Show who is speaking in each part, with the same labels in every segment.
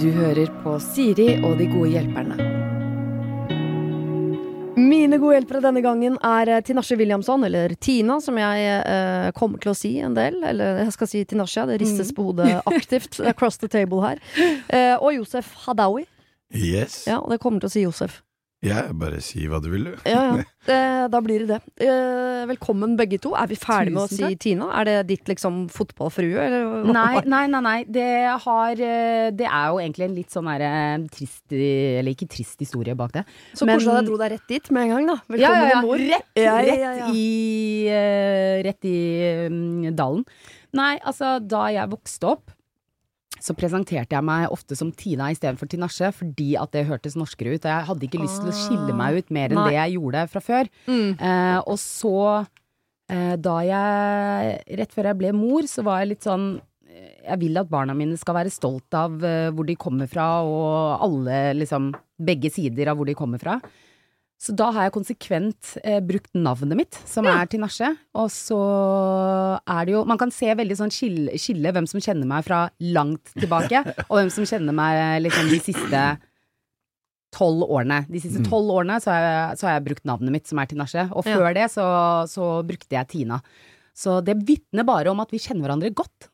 Speaker 1: Du hører på Siri og de gode hjelperne. Mine gode hjelpere denne gangen er eh, Tinashe Williamson, eller Tina, som jeg eh, kommer til å si en del. Eller jeg skal si Tinashe, det ristes
Speaker 2: Mm.
Speaker 1: på hodet aktivt across the table her. Eh, og Josef Hadaoui.
Speaker 3: Yes.
Speaker 1: Ja, og det kommer til å si Josef.
Speaker 3: Jeg bare si hva du vil, du.
Speaker 1: Ja, ja. Eh, da blir det det. Eh, velkommen begge to. Er vi ferdig med å
Speaker 2: Tusen
Speaker 1: si
Speaker 2: takk.
Speaker 1: Tina? Er det ditt liksom fotballfrue, eller? hva?
Speaker 2: Nei, nei, nei, nei. Det, har, eh, det er jo egentlig en litt sånn der, eh, trist eh, Eller ikke trist historie bak det.
Speaker 1: Så
Speaker 2: Men-
Speaker 1: koselig at jeg dro deg rett dit med en gang, da. Velkommen
Speaker 2: Ja, ja, ja.
Speaker 1: i mor.
Speaker 2: Rett,
Speaker 1: Ja, ja,
Speaker 2: rett
Speaker 1: ja, ja.
Speaker 2: i, eh, rett i mm, dalen. Nei, altså, da jeg vokste opp, så presenterte jeg meg ofte som Tina istedenfor Tinashe, fordi at det hørtes norskere ut. Og jeg hadde ikke lyst til å skille meg ut mer enn
Speaker 1: Ah, Nei.
Speaker 2: det jeg gjorde fra før.
Speaker 1: Mm.
Speaker 2: Eh, og så, eh, da jeg Rett før jeg ble mor, så var jeg litt sånn eh, Jeg vil at barna mine skal være stolt av eh, hvor de kommer fra, og alle, liksom Begge sider av hvor de kommer fra. Så da har jeg konsekvent eh, brukt navnet mitt, som er Tinashe. Og så er det jo Man kan se veldig sånn skille, skille hvem som kjenner meg fra langt tilbake, og hvem som kjenner meg eh, liksom de siste tolv årene. De siste
Speaker 3: Mm.
Speaker 2: tolv årene så har, jeg, så har jeg brukt navnet mitt, som er Tinashe. Og
Speaker 1: Ja.
Speaker 2: før det så, så brukte jeg Tina. Så det vitner bare om at vi kjenner hverandre godt.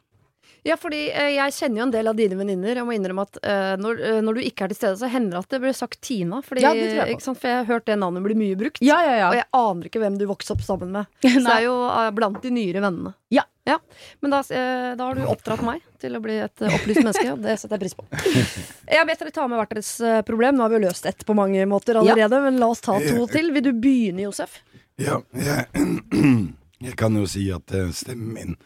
Speaker 1: Ja, fordi eh, jeg kjenner jo en del av dine venninner. Jeg må innrømme at eh, når, eh, når du ikke er til stede, så hender det at det blir sagt Tina. Fordi,
Speaker 2: Ja, det tror jeg på.
Speaker 1: ikke sant? For jeg har hørt det navnet bli mye brukt.
Speaker 2: Ja, ja,
Speaker 1: Og
Speaker 2: ja.
Speaker 1: jeg aner ikke hvem du vokste opp sammen med. Så det
Speaker 2: Nei.
Speaker 1: er jo eh, blant de nyere vennene.
Speaker 2: Ja.
Speaker 1: Men da, eh, da har du oppdratt meg til å bli et eh, opplyst menneske, og det setter jeg pris på. Jeg vet dere tar med hvert deres eh, problem. Nå har vi jo løst ett på mange måter allerede, men la oss ta to til. Vil du begynne, Josef?
Speaker 3: Ja, jeg, jeg kan jo si at eh, stemmen min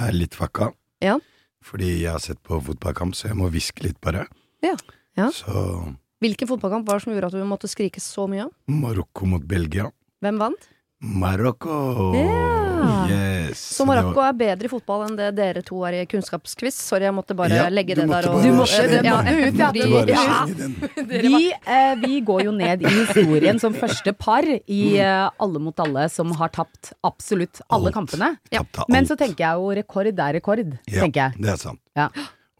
Speaker 3: er litt fucka.
Speaker 1: Ja.
Speaker 3: Fordi jeg har sett på fotballkamp, så jeg må hviske litt bare.
Speaker 1: Ja, ja.
Speaker 3: Så
Speaker 1: Hvilken fotballkamp var det som gjorde at du måtte skrike så mye?
Speaker 3: Marokko mot Belgia.
Speaker 1: Hvem vant?
Speaker 3: Marokko!
Speaker 1: Ja.
Speaker 3: Yes.
Speaker 1: Så Marokko er bedre i fotball enn det dere to er i kunnskapsquiz. Sorry, jeg måtte bare
Speaker 3: Ja,
Speaker 1: legge
Speaker 3: du
Speaker 1: det der.
Speaker 3: måtte
Speaker 1: og-
Speaker 3: bare
Speaker 1: Du
Speaker 3: slenge den.
Speaker 1: ja,
Speaker 2: Du måtte
Speaker 1: fordi-
Speaker 3: Det var, det var
Speaker 1: ja.
Speaker 3: å slenge den.
Speaker 2: Vi, eh, vi går jo ned i historien som første par i eh, Alle mot alle, som har tapt absolutt alle
Speaker 3: Mm. Alt.
Speaker 2: kampene.
Speaker 1: Ja.
Speaker 3: Tapte alt.
Speaker 2: Men så tenker jeg jo rekord er rekord,
Speaker 3: Ja,
Speaker 2: tenker jeg.
Speaker 3: Det er sant.
Speaker 2: Ja.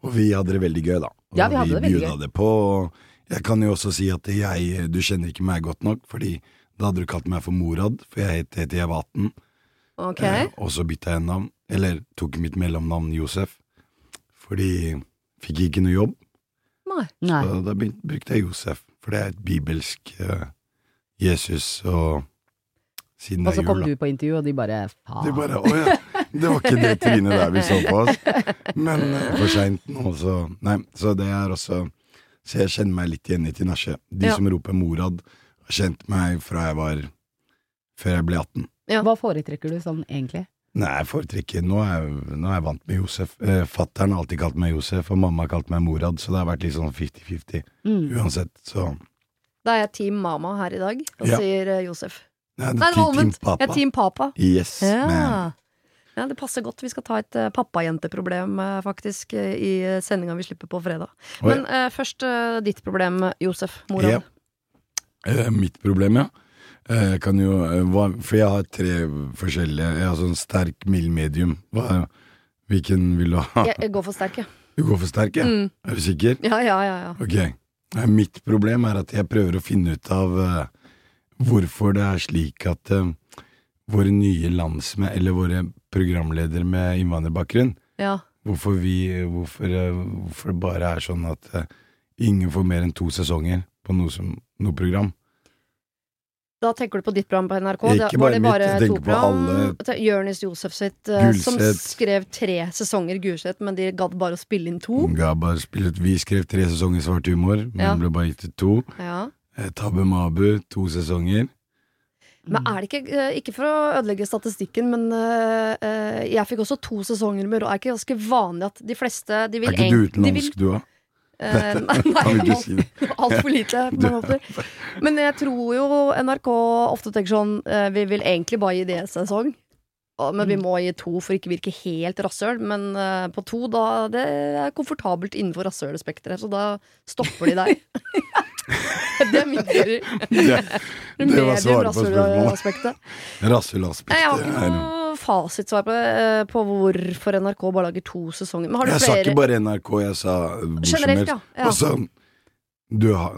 Speaker 3: Og vi hadde det veldig gøy, da. Og
Speaker 2: Ja, vi hadde det veldig
Speaker 3: bjuda
Speaker 2: gøy.
Speaker 3: det på. Jeg kan jo også si at jeg Du kjenner ikke meg godt nok, fordi da hadde du kalt meg for Morad, for jeg het det til jeg var 18.
Speaker 1: Ok.
Speaker 3: Eh, og så bytta jeg navn, eller tok mitt mellomnavn Josef, fordi fikk ikke noe jobb.
Speaker 1: Nei.
Speaker 2: Nei.
Speaker 3: Og da begyn- brukte jeg Josef, for det er et bibelsk eh, Jesus, og siden
Speaker 2: Og
Speaker 3: det
Speaker 2: så
Speaker 3: er
Speaker 2: kom
Speaker 3: jul, da.
Speaker 2: du på intervju, og de bare faen.
Speaker 3: Det bare, å ja, det var ikke det trynet der vi så på oss. Men eh, for seint nå, så Nei, så det er også Så jeg kjenner meg litt igjen i Tinashe. De
Speaker 1: Ja.
Speaker 3: som roper Morad, har kjent meg fra jeg var Før jeg ble 18.
Speaker 2: Hva foretrekker du sånn egentlig?
Speaker 3: Nei, jeg foretrekker Nå er jeg, nå er jeg vant med Josef. Eh, Fattern har alltid kalt meg Josef, og mamma har kalt meg Morad, så det har vært litt sånn 50-50
Speaker 2: Mm.
Speaker 3: uansett. Så
Speaker 1: Da er jeg Team Mama her i dag, og
Speaker 3: Ja.
Speaker 1: sier eh, Josef.
Speaker 3: Nei,
Speaker 1: Nei, det var
Speaker 3: Team
Speaker 1: omvendt.
Speaker 3: Papa.
Speaker 1: Jeg er Team Papa.
Speaker 3: Yes, man.
Speaker 1: Ja. ja, det passer godt. Vi skal ta et eh, pappajenteproblem, eh, faktisk, eh, i eh, sendinga vi slipper på fredag.
Speaker 3: Oi.
Speaker 1: Men eh, først eh, ditt problem, Josef. Moran.
Speaker 3: Ja. Eh, mitt problem, ja. Eh, jeg kan jo, eh, hva, for jeg har tre forskjellige Jeg har sånn sterk, mild medium. Hva, hvilken vil du ha?
Speaker 1: Jeg, jeg går for sterk, jeg.
Speaker 3: Du går for sterk, ja?
Speaker 1: Mm.
Speaker 3: Er du sikker?
Speaker 1: Ja, ja, ja. ja.
Speaker 3: Ok. Eh, mitt problem er at jeg prøver å finne ut av eh, hvorfor det er slik at eh, våre nye landsmenn, eller våre programledere med innvandrerbakgrunn,
Speaker 1: ja.
Speaker 3: hvorfor vi hvorfor, eh, hvorfor det bare er sånn at eh, ingen får mer enn to sesonger på noe, som, noe program.
Speaker 1: Da tenker du på ditt program på NRK?
Speaker 3: Ikke
Speaker 1: Det- var
Speaker 3: bare
Speaker 1: det
Speaker 3: mitt,
Speaker 1: bare
Speaker 3: jeg
Speaker 1: to
Speaker 3: tenker på
Speaker 1: program?
Speaker 3: alle.
Speaker 1: Te- Jonis Josef sitt, eh, som
Speaker 3: Gulset.
Speaker 1: skrev tre sesonger Gulset, men de gadd bare å spille inn to.
Speaker 3: Ga bare spillet, vi skrev tre sesonger Svart humor, men
Speaker 1: Ja.
Speaker 3: ble bare gitt ut to.
Speaker 1: Ja.
Speaker 3: Eh, Tabbe Mabu, to sesonger.
Speaker 1: Men er det ikke eh, Ikke for å ødelegge statistikken, men eh, eh, jeg fikk også to sesonger med Rå. Er ikke ganske vanlig at de fleste de vil
Speaker 3: Er ikke du
Speaker 1: eng- de vil-
Speaker 3: utenlandsk, du òg?
Speaker 1: Eh, nei,
Speaker 3: Kan vi ikke si
Speaker 1: nei
Speaker 3: det?
Speaker 1: altfor lite. På mange måter. Men jeg tror jo NRK ofte tenker sånn eh, Vi vil egentlig bare gi det en sesong. Og- Men vi
Speaker 3: Mm.
Speaker 1: må gi to for ikke å virke helt rasshøl. Men eh, på to, da Det er komfortabelt innenfor rasshølspekteret, så da stopper de deg. det er min teori.
Speaker 3: Det, det var svaret på spørsmålet.
Speaker 1: Medium-rasshølaspektet.
Speaker 3: Rasshølaspektet
Speaker 1: Nei, Jeg har ikke
Speaker 3: er
Speaker 1: noe noe fasitsvar på, det, eh, på hvorfor NRK bare lager to sesonger? Men har du
Speaker 3: Jeg sa
Speaker 1: flere
Speaker 3: ikke bare NRK, jeg sa eh, hvor som
Speaker 1: Generelt,
Speaker 3: helst.
Speaker 1: ja. ja.
Speaker 3: Og så du har,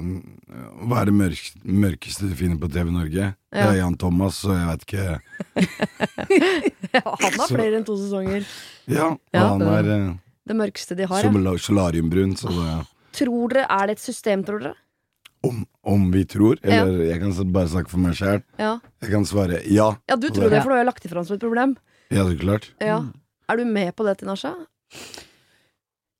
Speaker 3: Hva er det mørk, mørkeste du finner på TV Norge? Det
Speaker 1: Ja.
Speaker 3: er Jan Thomas, så jeg vet ikke
Speaker 1: Han har
Speaker 3: så-
Speaker 1: flere enn to sesonger.
Speaker 3: Ja,
Speaker 1: Ja,
Speaker 3: han er eh,
Speaker 1: Det mørkeste de har. Ja.
Speaker 3: sola- solariumbrun, så det
Speaker 1: Tror dere, Er det et system, tror dere?
Speaker 3: om, om vi tror, eller jeg kan s- bare snakke for meg sjæl,
Speaker 1: Ja,
Speaker 3: jeg kan svare ja. Mm.
Speaker 1: ja du tror det, for du har jo lagt det fram som et problem.
Speaker 3: Ja, så klart.
Speaker 1: Ja. Er du med på det, Tinashe?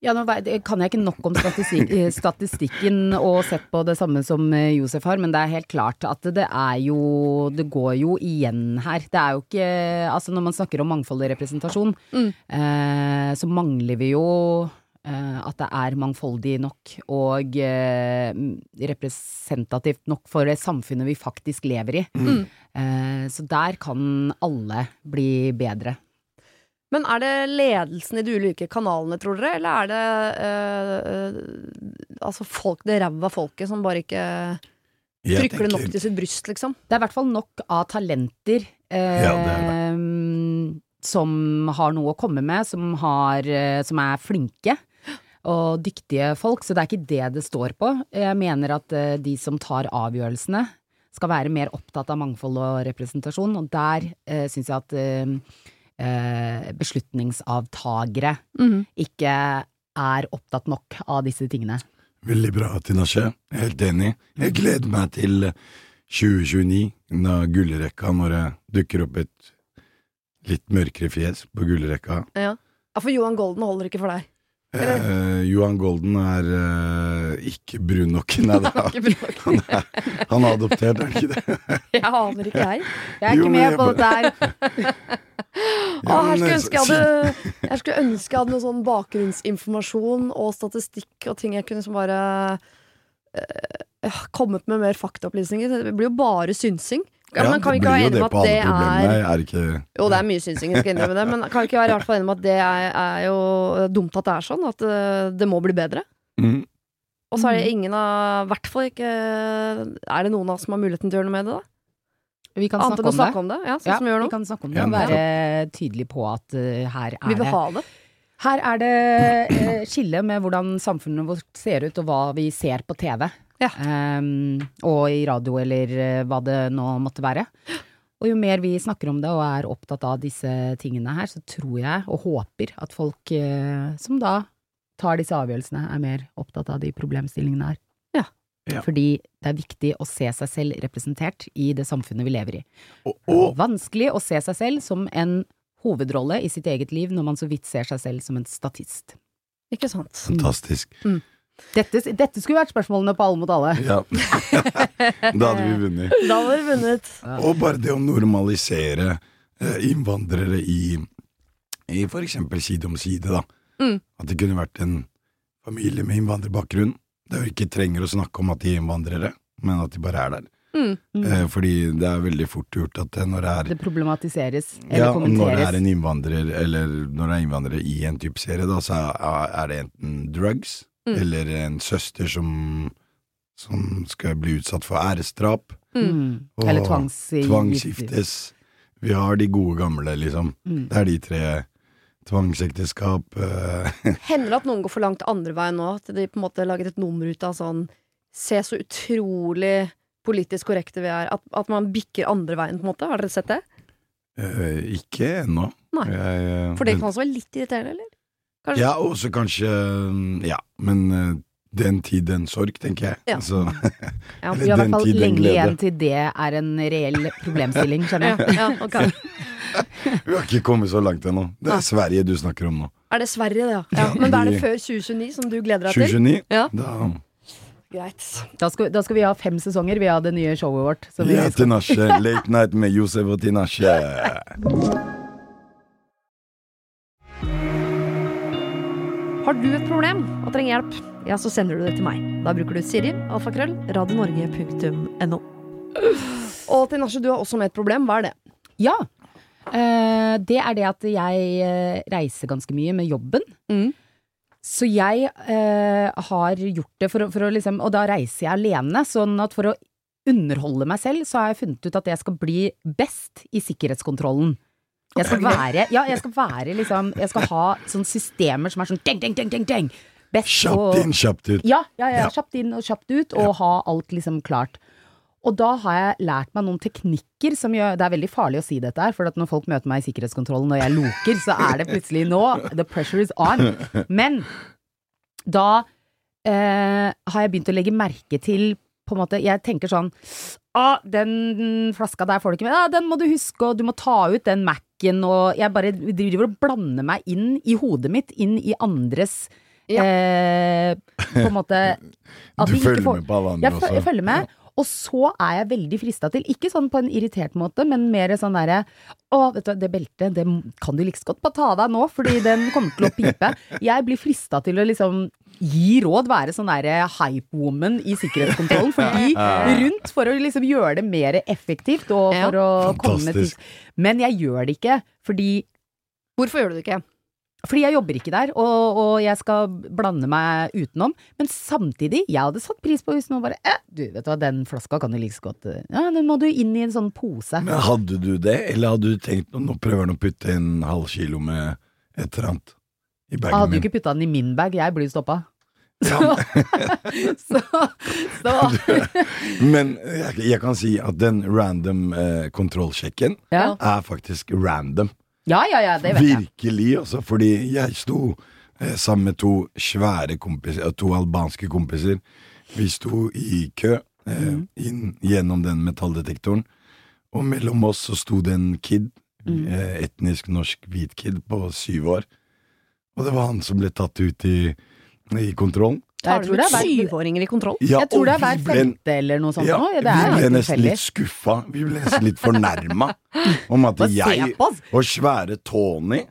Speaker 2: Ja, nå vei- det kan jeg ikke nok om statistikk, eh, statistikken og sett på det samme som eh, Josef har, men det er helt klart at det er jo Det går jo igjen her. Det er jo ikke Altså, når man snakker om mangfold i representasjon,
Speaker 1: Mm.
Speaker 2: eh, så mangler vi jo eh, at det er mangfoldig nok og eh, representativt nok for det samfunnet vi faktisk lever i.
Speaker 1: Mm.
Speaker 2: Eh, så der kan alle bli bedre.
Speaker 1: Men er det ledelsen i de ulike kanalene, tror dere? Eller er det eh, eh, altså folk, det ræva folket som bare ikke
Speaker 3: Jeg
Speaker 1: trykker det nok
Speaker 3: tenker-
Speaker 1: til sitt bryst, liksom?
Speaker 2: Det er i hvert fall nok av talenter eh,
Speaker 3: Ja, det
Speaker 2: som har noe å komme med, som, har, eh, som er flinke og dyktige folk, så det er ikke det det står på. Jeg mener at eh, de som tar avgjørelsene, skal være mer opptatt av mangfold og representasjon, og der eh, syns jeg at eh, eh, beslutningsavtagere
Speaker 3: Mhm.
Speaker 2: ikke er opptatt nok av disse tingene.
Speaker 3: Veldig bra, Tinashe. Helt enig. Jeg gleder meg til 2029, da gullrekka, når det dukker opp et litt mørkere fjes på gullrekka.
Speaker 1: Ja. ja, for Johan Golden holder ikke for deg.
Speaker 3: Eh, Johan Golden er eh, ikke brun nok, nei da.
Speaker 1: Ikke bra.
Speaker 3: Han er, han er adoptert, er han ikke det?
Speaker 1: Jeg aner ikke, jeg.
Speaker 2: Jeg er
Speaker 3: Jo,
Speaker 2: ikke
Speaker 3: men
Speaker 2: med
Speaker 3: jeg
Speaker 2: på
Speaker 3: bare-
Speaker 2: dette her.
Speaker 1: Å,
Speaker 3: Ja,
Speaker 1: her skulle jeg
Speaker 3: men, eh,
Speaker 1: ønske jeg hadde, jeg skulle ønske jeg hadde noe sånn bakgrunnsinformasjon og statistikk og ting jeg kunne som bare eh, øh, kommet med mer faktaopplysninger. Det blir jo bare synsing. Ja, men kan vi ikke
Speaker 3: blir
Speaker 1: være
Speaker 3: jo
Speaker 1: enige om
Speaker 3: på
Speaker 1: at det
Speaker 3: alle problemene,
Speaker 1: er
Speaker 3: er det ikke
Speaker 1: Jo, det er mye synsing, jeg skal innrømme det, men kan vi ikke være i hvert fall enige om at det er, er jo dumt at det er sånn? At eh, det må bli bedre?
Speaker 3: mm.
Speaker 1: Og så er det ingen av I hvert fall ikke Er det noen av oss som har muligheten til å gjøre noe med det, da?
Speaker 2: Vi kan
Speaker 1: Annet
Speaker 2: snakke om
Speaker 1: enn å
Speaker 2: det.
Speaker 1: snakke om det? Ja, sånn som vi gjør
Speaker 2: vi
Speaker 1: nå.
Speaker 2: kan snakke om det
Speaker 3: Ja,
Speaker 2: og
Speaker 3: nettopp.
Speaker 2: være tydelig på at eh, her
Speaker 1: Vi
Speaker 2: er
Speaker 1: vil
Speaker 2: det
Speaker 1: ha det.
Speaker 2: Her er det eh, skille med hvordan samfunnet vårt ser ut, og hva vi ser på TV.
Speaker 1: Ja.
Speaker 2: Ehm, og i radio, eller eh, hva det nå måtte være. Og jo mer vi snakker om det og er opptatt av disse tingene her, så tror jeg og håper at folk eh, som da tar disse avgjørelsene, er mer opptatt av de problemstillingene her.
Speaker 1: Ja.
Speaker 3: Ja.
Speaker 2: Fordi det er viktig å se seg selv representert i det samfunnet vi lever i.
Speaker 3: og, og
Speaker 2: Vanskelig å se seg selv som en hovedrolle i sitt eget liv når man så vidt ser seg selv som en statist.
Speaker 1: Ikke sant.
Speaker 3: Fantastisk.
Speaker 2: Dette, dette skulle vært spørsmålene på Alle mot alle.
Speaker 3: Ja. da hadde vi vunnet.
Speaker 1: Da var det vunnet.
Speaker 3: Og bare det å normalisere eh, innvandrere i, i for eksempel side om side, da.
Speaker 1: Mm.
Speaker 3: At det kunne vært en familie med innvandrerbakgrunn. Der vi ikke trenger å snakke om at de er innvandrere, men at de bare er der.
Speaker 1: Mm.
Speaker 3: Eh, fordi det er veldig fort gjort at eh, når det er
Speaker 2: Det problematiseres eller
Speaker 3: ja, når det
Speaker 2: kommenteres.
Speaker 3: er en innvandrer, eller når det er innvandrere i en type serie, da, så er er det enten drugs,
Speaker 1: Mm.
Speaker 3: eller en søster som, som skal bli utsatt for æresdrap,
Speaker 2: Mm.
Speaker 3: Og
Speaker 2: Eller tvangsgiftes.
Speaker 3: tvangsgiftes. Vi har de gode gamle, liksom.
Speaker 2: Mm.
Speaker 3: Det er de tre. Tvangsekteskap eh,
Speaker 1: Hender det at noen går for langt andre veien nå? At de på en måte laget et nummer ut av sånn Se så utrolig politisk korrekte vi er. At, at man bikker andre veien, på en måte. Har dere sett det?
Speaker 3: eh, Ikke ennå.
Speaker 1: Nei.
Speaker 3: Jeg, eh,
Speaker 1: For det kan også være litt irriterende, eller? kanskje-
Speaker 3: Ja, også kanskje mm, Ja, men eh, den tid, den sorg, tenker jeg.
Speaker 1: Ja.
Speaker 3: Altså,
Speaker 1: Ja,
Speaker 2: Vi har i hvert fall
Speaker 3: Den tid, den
Speaker 2: lenge
Speaker 3: glede.
Speaker 2: igjen til det er en reell problemstilling, skjønner
Speaker 1: ja,
Speaker 2: jeg.
Speaker 1: ja, ok.
Speaker 3: vi har ikke kommet så langt ennå. Det
Speaker 1: Nei.
Speaker 3: er Sverige du snakker om nå.
Speaker 1: Er det Sverige, det, ja? ja? Men da er det
Speaker 3: vi-
Speaker 1: før 2029 som du gleder deg til?
Speaker 3: 2029,
Speaker 1: Ja.
Speaker 3: da
Speaker 1: Greit.
Speaker 2: Da skal, da skal vi ha fem sesonger, vi har det nye showet vårt. som vi
Speaker 3: Ja,
Speaker 2: skal-
Speaker 3: Tinashe. Late Night med Josef og Tinashe.
Speaker 1: Har du et problem og trenger hjelp, ja, så sender du det til meg. Da bruker du Siri, alfakrøll, radionorge.no. Og til Nasje, du har også med et problem. Hva er det?
Speaker 2: Ja. Eh, det er det at jeg eh, reiser ganske mye med jobben.
Speaker 1: Mm.
Speaker 2: Så jeg eh, har gjort det for, å- for å liksom Og da reiser jeg alene, sånn at for å underholde meg selv, så har jeg funnet ut at jeg skal bli best i sikkerhetskontrollen. Jeg skal være, ja, jeg skal være liksom Jeg skal ha sånne systemer som er sånn deng, deng, deng, deng, deng. Best og-
Speaker 3: Kjapt inn, kjapt ut.
Speaker 2: Ja, ja, ja,
Speaker 3: Ja.
Speaker 2: kjapt inn og kjapt ut, og ha alt liksom klart. Og da har jeg lært meg noen teknikker som gjør Det er veldig farlig å si dette her, for at når folk møter meg i sikkerhetskontrollen og jeg loker, så er det plutselig nå The pressure is on. Men da eh, har jeg begynt å legge merke til på en måte, Jeg tenker sånn ah, Den flaska der får du ikke med. Ah, den må du huske, og du må ta ut den Mac-en. Og jeg bare driver og blander meg inn i hodet mitt, inn i andres
Speaker 1: Ja.
Speaker 2: eh, På en måte at
Speaker 3: Du
Speaker 2: vi ikke
Speaker 3: følger
Speaker 2: får-
Speaker 3: med på alle andre
Speaker 2: jeg, fø- jeg
Speaker 3: også.
Speaker 2: følger med. Og så er jeg veldig frista til, ikke sånn på en irritert måte, men mer sånn derre Å, vet du hva, det beltet, det kan du like så godt bare ta av deg nå, fordi den kommer til å pipe. Jeg blir frista til å liksom gi råd, være sånn derre hype-woman i sikkerhetskontrollen. Fordi rundt for å liksom gjøre det mer effektivt og
Speaker 1: Ja.
Speaker 2: for å komme med
Speaker 3: Fantastisk.
Speaker 2: tips. Men jeg gjør det ikke, fordi
Speaker 1: Hvorfor gjør du det ikke?
Speaker 2: fordi jeg jobber ikke der, og, og jeg skal blande meg utenom. Men samtidig, jeg hadde satt pris på hvis noen bare eh, Du, vet du hva, den flaska kan du like så godt eh, Ja, den må du inn i en sånn pose.
Speaker 3: Men hadde du det, eller hadde du tenkt nå prøver han å putte en halv kilo med et eller annet i
Speaker 2: Jeg
Speaker 3: bagen
Speaker 2: hadde jo
Speaker 3: min?
Speaker 2: ikke putta den i min bag, jeg blir jo stoppa.
Speaker 3: Ja,
Speaker 2: Så, så, så
Speaker 3: men jeg, jeg kan si at den random eh, kontrollsjekken
Speaker 2: ja.
Speaker 3: er faktisk random.
Speaker 2: ja, ja, ja, det vet jeg.
Speaker 3: Virkelig, altså. Fordi jeg sto eh, sammen med to svære kompiser, eh, to albanske kompiser. Vi sto i kø eh,
Speaker 2: Mhm.
Speaker 3: inn gjennom den metalldetektoren, og mellom oss så sto det en kid,
Speaker 2: Mhm.
Speaker 3: eh, etnisk norsk hvit kid på syv år. Og det var han som ble tatt ut i, i kontrollen.
Speaker 1: Tar
Speaker 2: Jeg
Speaker 1: du
Speaker 2: tror det
Speaker 1: ut
Speaker 2: er hver,
Speaker 1: syvåringer i kontroll?
Speaker 3: Ja,
Speaker 2: jeg tror det
Speaker 3: og
Speaker 2: er hver
Speaker 3: vi ble-
Speaker 2: femte eller noe sånt
Speaker 3: ja,
Speaker 2: nå. Ja, det
Speaker 3: vi
Speaker 2: er
Speaker 3: ble
Speaker 2: helt
Speaker 3: nesten
Speaker 2: tilfeldig.
Speaker 3: litt skuffa. Vi ble nesten litt fornærma om at
Speaker 2: Bare se
Speaker 3: jeg
Speaker 2: på oss.
Speaker 3: og svære Tony,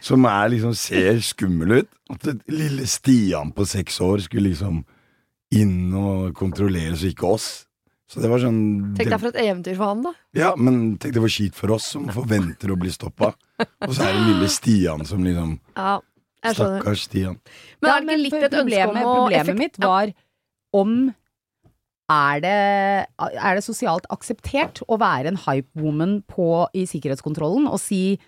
Speaker 3: som er liksom ser skummel ut At det- lille Stian på seks år skulle liksom inn og kontrollere, så ikke oss. Så det var sånn
Speaker 1: Tenk
Speaker 3: det,
Speaker 1: deg for et eventyr for han, da.
Speaker 3: Ja, men tenk det var kjipt for oss som forventer å bli stoppa. Og så er det lille Stian som liksom
Speaker 1: Ja, jeg skjønner.
Speaker 3: Stakkars Stian.
Speaker 1: Men
Speaker 2: Ja,
Speaker 1: er det ikke litt et ønske om
Speaker 2: problemet,
Speaker 1: å
Speaker 2: Problemet
Speaker 1: effekt-
Speaker 2: mitt var om er det, er det sosialt akseptert å være en hype-woman på- i sikkerhetskontrollen og si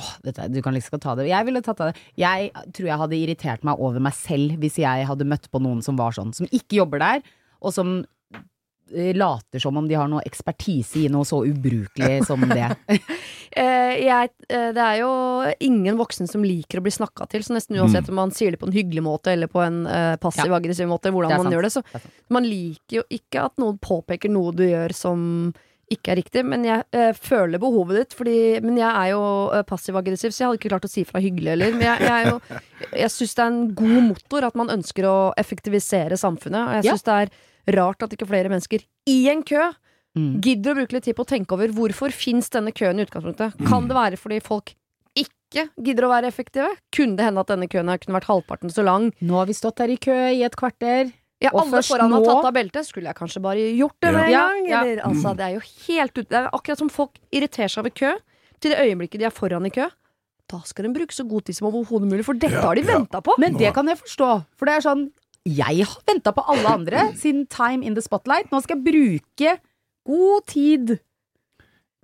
Speaker 2: Åh, dette, du kan liksom godt ta det. Jeg ville tatt av det. Jeg tror jeg hadde irritert meg over meg selv hvis jeg hadde møtt på noen som var sånn, som ikke jobber der, og som eh, later som om de har noe ekspertise i noe så ubrukelig som det.
Speaker 1: Eh, jeg, eh, det er jo ingen voksne som liker å bli snakka til, så nesten uansett om man sier det på en hyggelig måte eller på en eh, passiv, aggressiv måte, hvordan
Speaker 2: Det er
Speaker 1: man
Speaker 2: sant.
Speaker 1: gjør det, så
Speaker 2: Det er sant.
Speaker 1: man liker jo ikke at noen påpeker noe du gjør som ikke er riktig, men jeg eh, føler behovet ditt, fordi, men jeg er jo eh, passiv-aggressiv, så jeg hadde ikke klart å si fra hyggelig heller. Men jeg, jeg, er jo- jeg syns det er en god motor at man ønsker å effektivisere samfunnet, og jeg
Speaker 2: Ja.
Speaker 1: syns det er rart at ikke flere mennesker i en kø
Speaker 2: Mm.
Speaker 1: Gidder å bruke litt tid på å tenke over hvorfor finnes denne køen i utgangspunktet? Kan det være fordi folk ikke gidder å være effektive? Kunne det hende at denne køen her kunne vært halvparten så lang?
Speaker 2: Nå har vi stått her i kø i et kvarter.
Speaker 1: Ja,
Speaker 2: Og
Speaker 1: alle
Speaker 2: først
Speaker 1: foran har
Speaker 2: nå-
Speaker 1: tatt av beltet. Skulle jeg kanskje bare gjort det med en
Speaker 2: Ja.
Speaker 1: gang?
Speaker 2: Ja, ja.
Speaker 1: Eller, altså, det er jo helt ut... Det er akkurat som folk irriterer seg over kø. Til det øyeblikket de er foran i kø, da skal de bruke så god tid som overhodet mulig, for dette
Speaker 3: Ja,
Speaker 1: har de
Speaker 3: ja.
Speaker 1: venta på.
Speaker 2: Men
Speaker 3: Nå-
Speaker 2: det kan jeg forstå, for det er sånn Jeg har venta på alle andre siden Time in the Spotlight. Nå skal jeg bruke god tid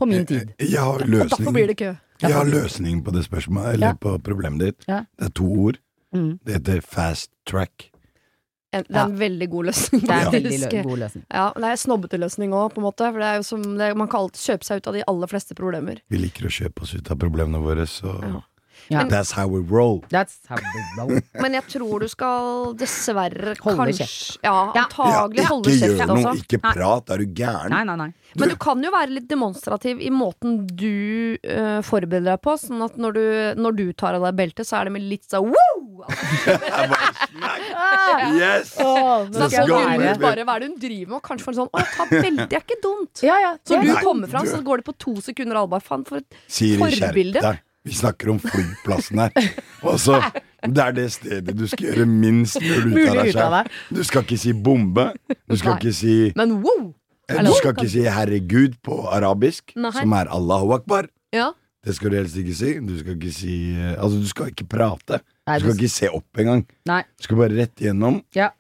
Speaker 2: på
Speaker 3: Eh,
Speaker 2: min tid.
Speaker 3: Jeg har
Speaker 1: Og derfor blir
Speaker 3: løsningen,
Speaker 1: det kø.
Speaker 3: jeg har løsningen på det spørsmålet, eller
Speaker 2: Ja.
Speaker 3: på problemet ditt.
Speaker 2: Ja.
Speaker 3: Det er to ord.
Speaker 2: Mm.
Speaker 3: Det heter fast track.
Speaker 1: En- Det er en veldig god løsning.
Speaker 2: Det er en veldig
Speaker 1: faktisk.
Speaker 2: lø god løsning.
Speaker 1: Ja, men det er en snobbete løsning òg, på en måte. For det er jo som, det, man kan alltid kjøpe seg ut av de aller fleste problemer.
Speaker 3: Vi liker å kjøpe oss ut av problemene våre, så
Speaker 2: Ja.
Speaker 3: That's how we roll.
Speaker 2: That's how we roll.
Speaker 1: Men jeg tror du skal dessverre
Speaker 2: Holde
Speaker 1: kanskje
Speaker 2: kjeft.
Speaker 1: Ja,
Speaker 2: Ja.
Speaker 1: antagelig holde
Speaker 3: ikke
Speaker 1: kjeft,
Speaker 3: gjør noe,
Speaker 1: altså.
Speaker 3: ikke prat, er du gæren?
Speaker 2: Nei, nei, nei.
Speaker 1: Men du kan jo være litt demonstrativ i måten du eh, forbereder deg på, sånn at når du, når du tar av deg beltet, så er det med litt sånn wow!
Speaker 3: Jeg bare, smack!
Speaker 1: Ah!
Speaker 3: Yes!
Speaker 1: Så sånn
Speaker 3: skal jeg
Speaker 1: går
Speaker 3: være-
Speaker 1: rundt bare hva er det hun driver med, og kanskje får en sånn å, ta beltet, er ikke dumt.
Speaker 2: Ja, ja.
Speaker 1: Så
Speaker 2: det-
Speaker 1: du
Speaker 3: Nei,
Speaker 1: kommer fram,
Speaker 3: du-
Speaker 1: så går det på to sekunder, og alle bare faen for et
Speaker 3: Siri, skjerp
Speaker 1: Forbilde.
Speaker 3: deg. Vi snakker om flyplassen her. Og så, det er det stedet du skal gjøre minst mulig ut av
Speaker 2: Mulig ut
Speaker 3: deg
Speaker 2: av
Speaker 3: selv. Du skal ikke si bombe. Du skal
Speaker 1: Nei.
Speaker 3: ikke si eh,
Speaker 1: Men wow!
Speaker 3: Du skal ikke si herregud på arabisk,
Speaker 1: Nei.
Speaker 3: som er Allahu akbar.
Speaker 1: Ja.
Speaker 3: Det skal du helst ikke si. Du skal ikke si eh, Altså, du skal ikke prate.
Speaker 2: Nei,
Speaker 3: Du skal
Speaker 2: du-
Speaker 3: ikke se opp engang.
Speaker 2: Nei.
Speaker 3: Du skal bare rett igjennom.
Speaker 2: Ja.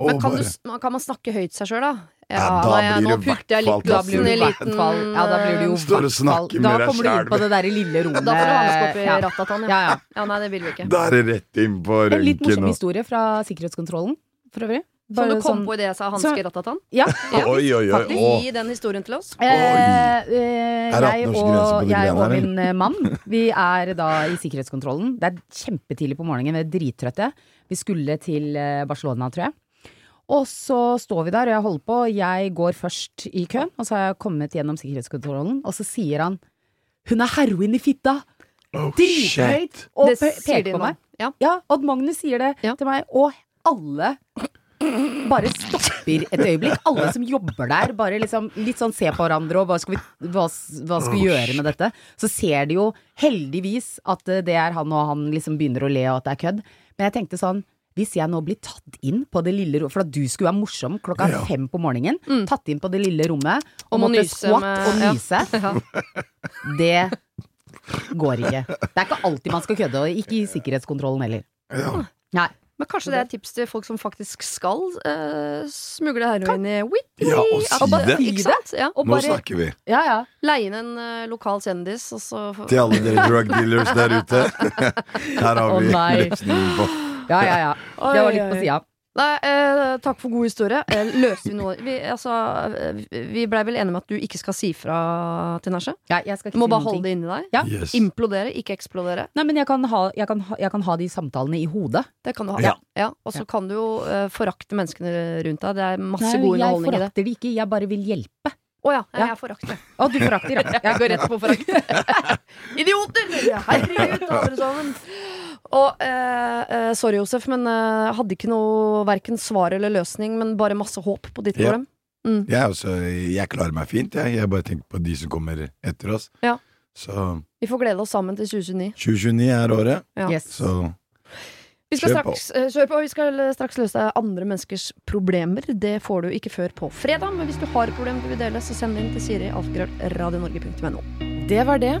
Speaker 3: Og
Speaker 1: Men kan,
Speaker 3: bare
Speaker 1: du, s- kan man snakke høyt seg sjøl, da?
Speaker 3: Ja, da
Speaker 1: nei, jeg- nå
Speaker 3: blir det
Speaker 1: putter jeg litt
Speaker 3: hvertfall
Speaker 1: glassen
Speaker 3: til
Speaker 1: i
Speaker 3: slutt.
Speaker 1: liten
Speaker 2: Ja, da blir det jo
Speaker 3: Står og
Speaker 2: hvertfall.
Speaker 3: snakker
Speaker 2: Da
Speaker 3: med deg
Speaker 2: kommer du inn
Speaker 3: selv.
Speaker 2: på det der lille rommet.
Speaker 1: Da får du hanske opp i
Speaker 2: eh, Ja.
Speaker 1: rattatan, ja.
Speaker 2: Ja, ja.
Speaker 1: ja. Nei, det vil vi ikke.
Speaker 3: Da er det rett inn på
Speaker 2: En litt morsom
Speaker 3: røntgen og
Speaker 2: historie fra sikkerhetskontrollen, for øvrig.
Speaker 1: Så
Speaker 2: Bare
Speaker 1: du kom
Speaker 2: sånn-
Speaker 1: på i det jeg sa hanske
Speaker 2: Så-
Speaker 1: rattatan?
Speaker 2: Ja.
Speaker 3: Oi, oi, oi.
Speaker 1: Faktisk,
Speaker 3: å.
Speaker 1: Gi den historien til oss.
Speaker 2: Eh, eh,
Speaker 3: Er det
Speaker 2: jeg
Speaker 3: 18-årsgrense på
Speaker 2: og,
Speaker 3: de
Speaker 2: jeg
Speaker 3: greiene
Speaker 2: og
Speaker 3: her, eller?
Speaker 2: min eh, mann Vi er da i sikkerhetskontrollen. Det er kjempetidlig på morgenen, vi er drittrøtte. Vi skulle til eh, Barcelona, tror jeg. Og så står vi der, og jeg holder på. Jeg går først i køen, og så har jeg kommet gjennom sikkerhetskontrollen. Og så sier han 'Hun har heroin i fitta!'
Speaker 3: Oh,
Speaker 2: Drithøyt!
Speaker 3: shit.
Speaker 2: Og pe
Speaker 1: Det sier
Speaker 2: peker
Speaker 1: din
Speaker 2: på
Speaker 1: mann.
Speaker 2: meg.
Speaker 1: Ja.
Speaker 2: Ja, Odd Magnus sier det
Speaker 1: Ja.
Speaker 2: til meg, og alle bare stopper et øyeblikk. Alle som jobber der, bare liksom litt sånn ser på hverandre og bare skal vi, hva, s- hva skal vi gjøre med dette? Så ser de jo heldigvis at eh, det er han, og han liksom begynner å le og at det er kødd. Men jeg tenkte sånn, hvis jeg nå blir tatt inn på det lille rommet, for at du skulle være morsom klokka
Speaker 3: Ja.
Speaker 2: fem på morgenen, tatt inn på det lille rommet og,
Speaker 1: Om å
Speaker 2: måtte
Speaker 1: Mm. nyse
Speaker 2: squat
Speaker 1: med-
Speaker 2: og
Speaker 1: ja.
Speaker 2: nyse,
Speaker 1: Ja.
Speaker 2: det går ikke. Det er ikke alltid man skal kødde, og ikke i sikkerhetskontrollen heller.
Speaker 3: Ja.
Speaker 2: Nei.
Speaker 1: Men kanskje det er et tips til folk som faktisk skal eh, smugle heroin i Whip?
Speaker 3: Ja, og
Speaker 1: At
Speaker 3: si
Speaker 1: bare-
Speaker 3: det.
Speaker 1: Ikke sant? Ja.
Speaker 2: Og
Speaker 3: Nå
Speaker 2: bare,
Speaker 3: snakker vi.
Speaker 2: ja, ja.
Speaker 1: Leie inn en eh, lokal kjendis, og så
Speaker 3: Til alle dere drug dealers der ute. Her har
Speaker 2: Å,
Speaker 3: vi
Speaker 2: nei.
Speaker 3: løsningen på
Speaker 2: ja, ja, ja. Det var litt på
Speaker 1: Oi, oi.
Speaker 2: sida.
Speaker 1: Nei, eh, takk for god historie. Eh, løser vi noe Vi, altså, eh, vi blei vel enige med at du ikke skal si fra til Nasha?
Speaker 2: Ja, jeg skal
Speaker 1: Du
Speaker 2: ikke
Speaker 1: må
Speaker 2: si
Speaker 1: bare
Speaker 2: noen ting.
Speaker 1: holde det inni deg.
Speaker 2: Ja.
Speaker 3: Yes.
Speaker 1: Implodere, ikke eksplodere.
Speaker 2: Nei, men jeg kan, ha, jeg, kan ha, jeg kan ha de samtalene i hodet.
Speaker 1: Det kan du ha.
Speaker 3: Ja.
Speaker 1: Ja, og så kan du jo eh, forakte menneskene rundt deg. Det er masse
Speaker 2: Nei,
Speaker 1: god
Speaker 2: jeg
Speaker 1: underholdning i det.
Speaker 2: forakter de ikke, jeg bare vil hjelpe.
Speaker 1: Å ja,
Speaker 2: Ja.
Speaker 1: jeg forakter.
Speaker 2: Å, du forakter, ja.
Speaker 1: Jeg går rett på forakt. Idioter! Herregud, alle sammen. Og eh, eh, sorry, Josef, men eh, hadde ikke noe verken svar eller løsning, men bare masse håp på ditt
Speaker 3: Ja.
Speaker 1: problem.
Speaker 3: Jeg, er også, jeg klarer meg fint, jeg. Jeg bare tenker på de som kommer etter oss.
Speaker 1: Ja.
Speaker 3: Så
Speaker 1: Vi får glede oss sammen til 2029.
Speaker 3: 2029 er året,
Speaker 1: Ja.
Speaker 2: Yes.
Speaker 3: så
Speaker 1: Vi skal
Speaker 3: Kjør på.
Speaker 1: straks, eh, kjør på. Vi skal straks løse andre menneskers problemer. Det får du ikke før på fredag, men hvis du har et problem du vil dele, så send det inn til Siri Alfgrøl, radionorge.no.
Speaker 4: Det var det.